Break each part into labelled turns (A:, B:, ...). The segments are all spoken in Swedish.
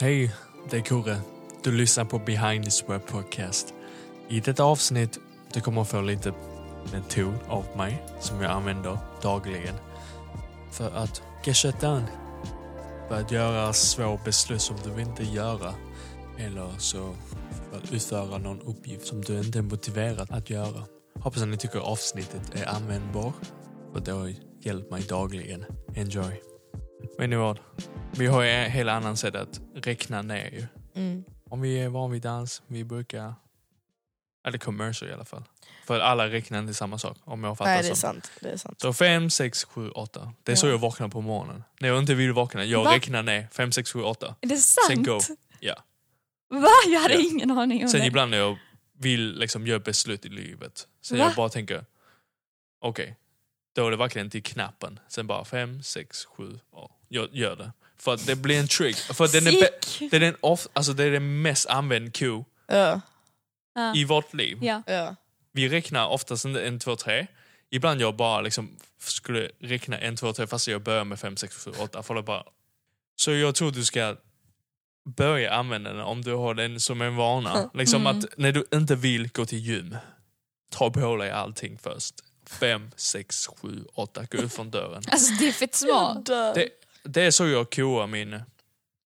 A: Hej, det är Kurre. Du lyssnar på Behind the Swear Podcast. I detta avsnitt du kommer få lite en ton av mig som jag använder dagligen för att get shit done. För att göra svåra beslut som du inte vill göra eller så för att utföra någon uppgift som du inte är motiverad att göra. Hoppas att ni tycker avsnittet är användbar för det har hjälpt mig dagligen. Enjoy. Vet ni vad? Vi har ju en helt annan sätt att räkna ner ju.
B: Mm.
A: Om vi är van vid dans, vi brukar... Eller commercial i alla fall. För alla räknar inte samma sak om jag fattar
B: Nej, det är
A: som.
B: sant. Det är sant.
A: Så fem, sex, sju, åtta. Det är så
B: Ja.
A: jag vaknar på morgonen. När jag inte vill vakna, jag
C: Va?
A: räknar ner fem, sex, sju, åtta.
C: Är det
A: Sen
C: sant?
A: go. Ja.
C: Va? Jag hade
A: Ja.
C: ingen aning om
A: Sen
C: det.
A: ibland när jag vill liksom göra beslut i livet. Sen
C: Va?
A: jag bara tänker, okej. då är det verkligen till knappen. Sen bara fem, sex, sju, ja. Jag gör det. För att det blir en trick. För att den är, bä-
C: Sick!
A: det, är den off- alltså det är den mest använda Q
B: Ja,
C: Ja.
A: i vårt liv.
C: Ja.
B: ja.
A: vi räknar oftast inte en, två, tre. Ibland jag bara liksom skulle räkna en, två, tre fast jag börjar med fem, sex, sju, åtta. För det bara... Så jag tror du ska börja använda den om du har den som en vana. Liksom
C: Mm.
A: att när du inte vill gå till gym, ta på dig allting först. Fem, sex, sju, åtta, gå ut från dörren.
C: Alltså det är fett smart.
B: dör.
A: Det- Det är så jag koar min,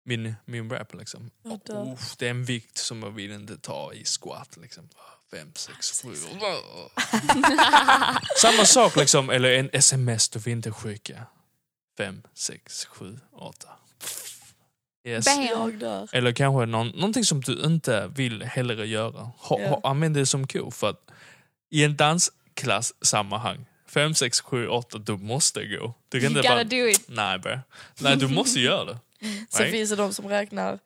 A: min, min rap liksom.
B: Jag dör.
A: Uff, det är en vikt som jag vill inte ta i squat liksom. Fem, sex, sju, åtta. Samma sak liksom, eller en sms du får inte skicka. Fem, sex, sju, åtta. Yes.
C: Bam!
B: Jag dör.
A: Eller kanske någon, någonting som du inte vill hellre göra. Ha,
B: Ja.
A: ha, använd det som kul för att i en dansklass sammanhang, fem, sex, sju, åtta, du måste gå. Du kan
C: You
A: inte
C: gotta
A: bara,
C: do it.
A: nej bro. Nej, du måste göra det.
B: Sen
A: Nej.
B: finns det de som räknar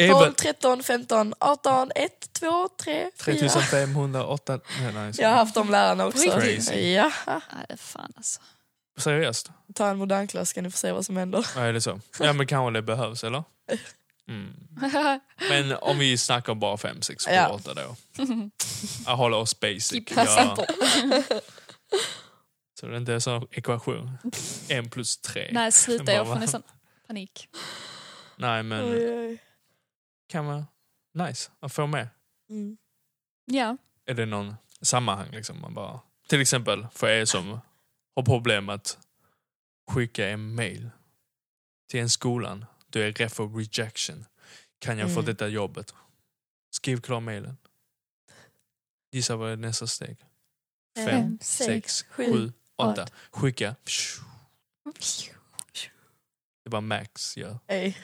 A: Även
B: 12, 13, 15, 18, 1, 2, 3, 4.
A: 3508, nej, nej,
B: Jag har haft de lärarna också.
A: Crazy.
B: Ja.
C: Nej, fan alltså.
A: Seriöst?
B: Ta en modern klass ska ni få se vad som händer.
A: Ja, är det så? Ja, men kanske det behövs, eller? Mm. Men om vi snackar bara 5, 6, 7,
B: Ja.
A: 8 då. Jag håller oss
B: Typ
A: basic.
C: Keep us
A: Ja. Så det inte är en sån ekvation. En plus tre. Nej,
C: Nej, sluta. Jag får nästan panik.
A: men
B: Oj, oj.
A: kan man... Nice att få med.
B: Mm.
C: Ja.
A: Är det någon sammanhang liksom? Man bara, till exempel för er som har problem att skicka en mail till en skolan. Du är rädd för rejection. Kan jag få
B: Mm.
A: detta jobbet? Skriv klar mailen. Gissa vad är nästa steg? Fem,
C: Fem,
A: sex,
C: sex,
A: sju,
C: sju,
A: åtta.
C: åtta.
A: Skicka. Det var Max gör.
B: Ey,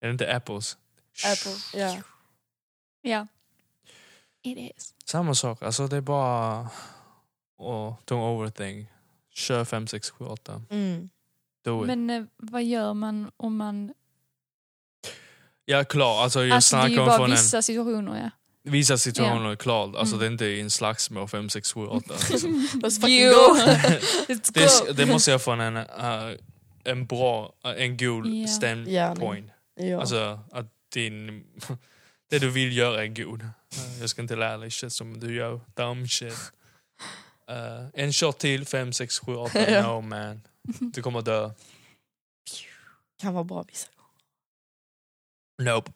A: Är det inte Apples?
B: Apple. Ja.
C: Ja. It is.
A: Samma sak, alltså det är bara... Oh, don't overthink. Kör fem, sex, sju, åtta.
B: Mm.
A: Do it.
C: Men eh, vad gör man om man...
A: Ja, klar. Alltså, jag
C: Alltså det är ju
A: snackar om
C: bara
A: från
C: vissa situationer ja.
A: en... Vissa situationer är klart. Alltså,
C: Mm.
A: det är inte i en slagsmål 5, 6, 7, 8.
B: Let's fucking
C: Jo.
B: go!
A: alltså. Det,
C: Let's
A: är-
C: go!
A: det måste jag från en, eh, en bra, eh, en god
C: Ja.
A: standpoint.
B: Ja.
A: Alltså, att din... Det du vill göra är god. Eh, Jag ska inte lära dig shit som du gör. Dumb shit. Eh, en shot till, 5, 6, 7, 8.
B: Ja.
A: No man. Du kommer dö.
B: Kan vara bra vissa gånger.
A: Nope,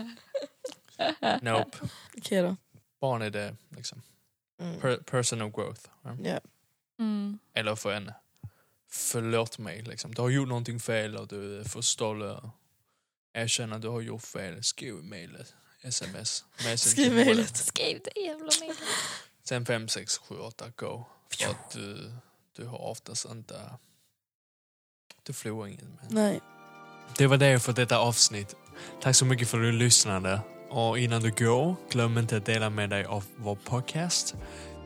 A: nope.
B: Okej då.
A: Barn är det, liksom.
B: Mm.
A: Per, personal growth. va?
B: Ja.
C: Mm.
A: Eller för en förlåt mig. Liksom. Du har gjort någonting fel och du får stolle. Erkänna att du har gjort fel. Skriv mejlet. Sms. Messenger.
B: Skriv mejlet.
C: Skriv det jävla mejlet.
A: Sen 5, 6, 7, 8, go. För att du, du har oftast inte... Du förlorar inget med.
B: Nej.
A: Det var det för detta avsnitt. Tack så mycket för att du lyssnade. Och innan du går, glöm inte att dela med dig av vår podcast.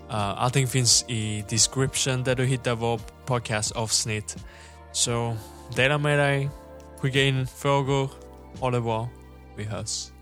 A: Uh, allting finns i description där du hittar vår podcastavsnitt. Så dela med dig, skicka in frågor. Ha det bra. Vi hörs.